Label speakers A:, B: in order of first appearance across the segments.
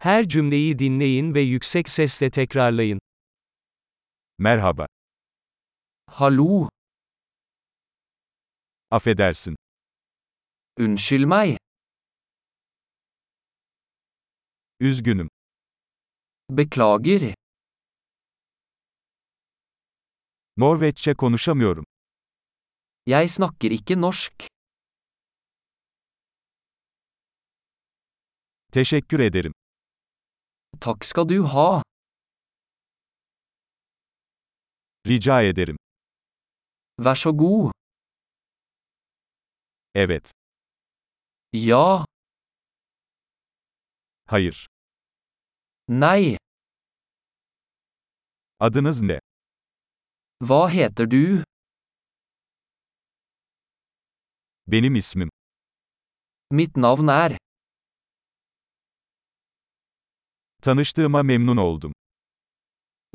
A: Her cümleyi dinleyin ve yüksek sesle tekrarlayın.
B: Merhaba.
C: Hallo,
B: Affedersin.
C: unnskyld meg.
B: Üzgünüm.
C: Beklager.
B: Norveççe konuşamıyorum.
C: Jeg snakker ikke norsk.
B: Teşekkür ederim.
C: Takk skal du ha.
B: Rica ederim.
C: Vær så god.
B: Evet.
C: Ja.
B: Hayır.
C: Nei.
B: Adınız ne?
C: Hva heter du?
B: Benim ismim.
C: Mitt navn er.
B: Tanıştığıma memnun oldum.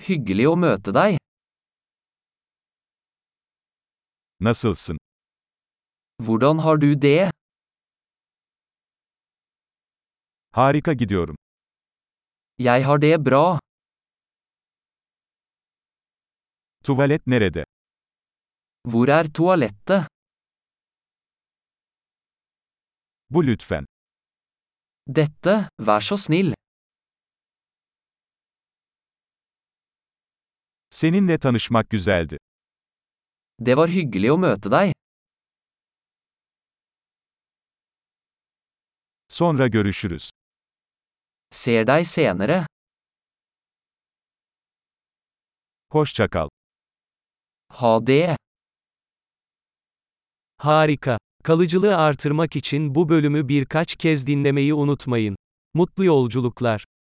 C: Hyggelig å møte deg.
B: Nasılsın?
C: Hvordan har du det?
B: Harika gidiyorum.
C: Jeg har det bra.
B: Tuvalet nerede?
C: Hvor er toalettet?
B: Bu lütfen.
C: Dette, vær så snill.
B: Seninle tanışmak güzeldi.
C: Det var hyggelig å møte deg.
B: Sonra görüşürüz.
C: Ser deg senere.
B: Hoşça kal.
C: Ha det.
A: Harika. Kalıcılığı artırmak için bu bölümü birkaç kez dinlemeyi unutmayın. Mutlu yolculuklar.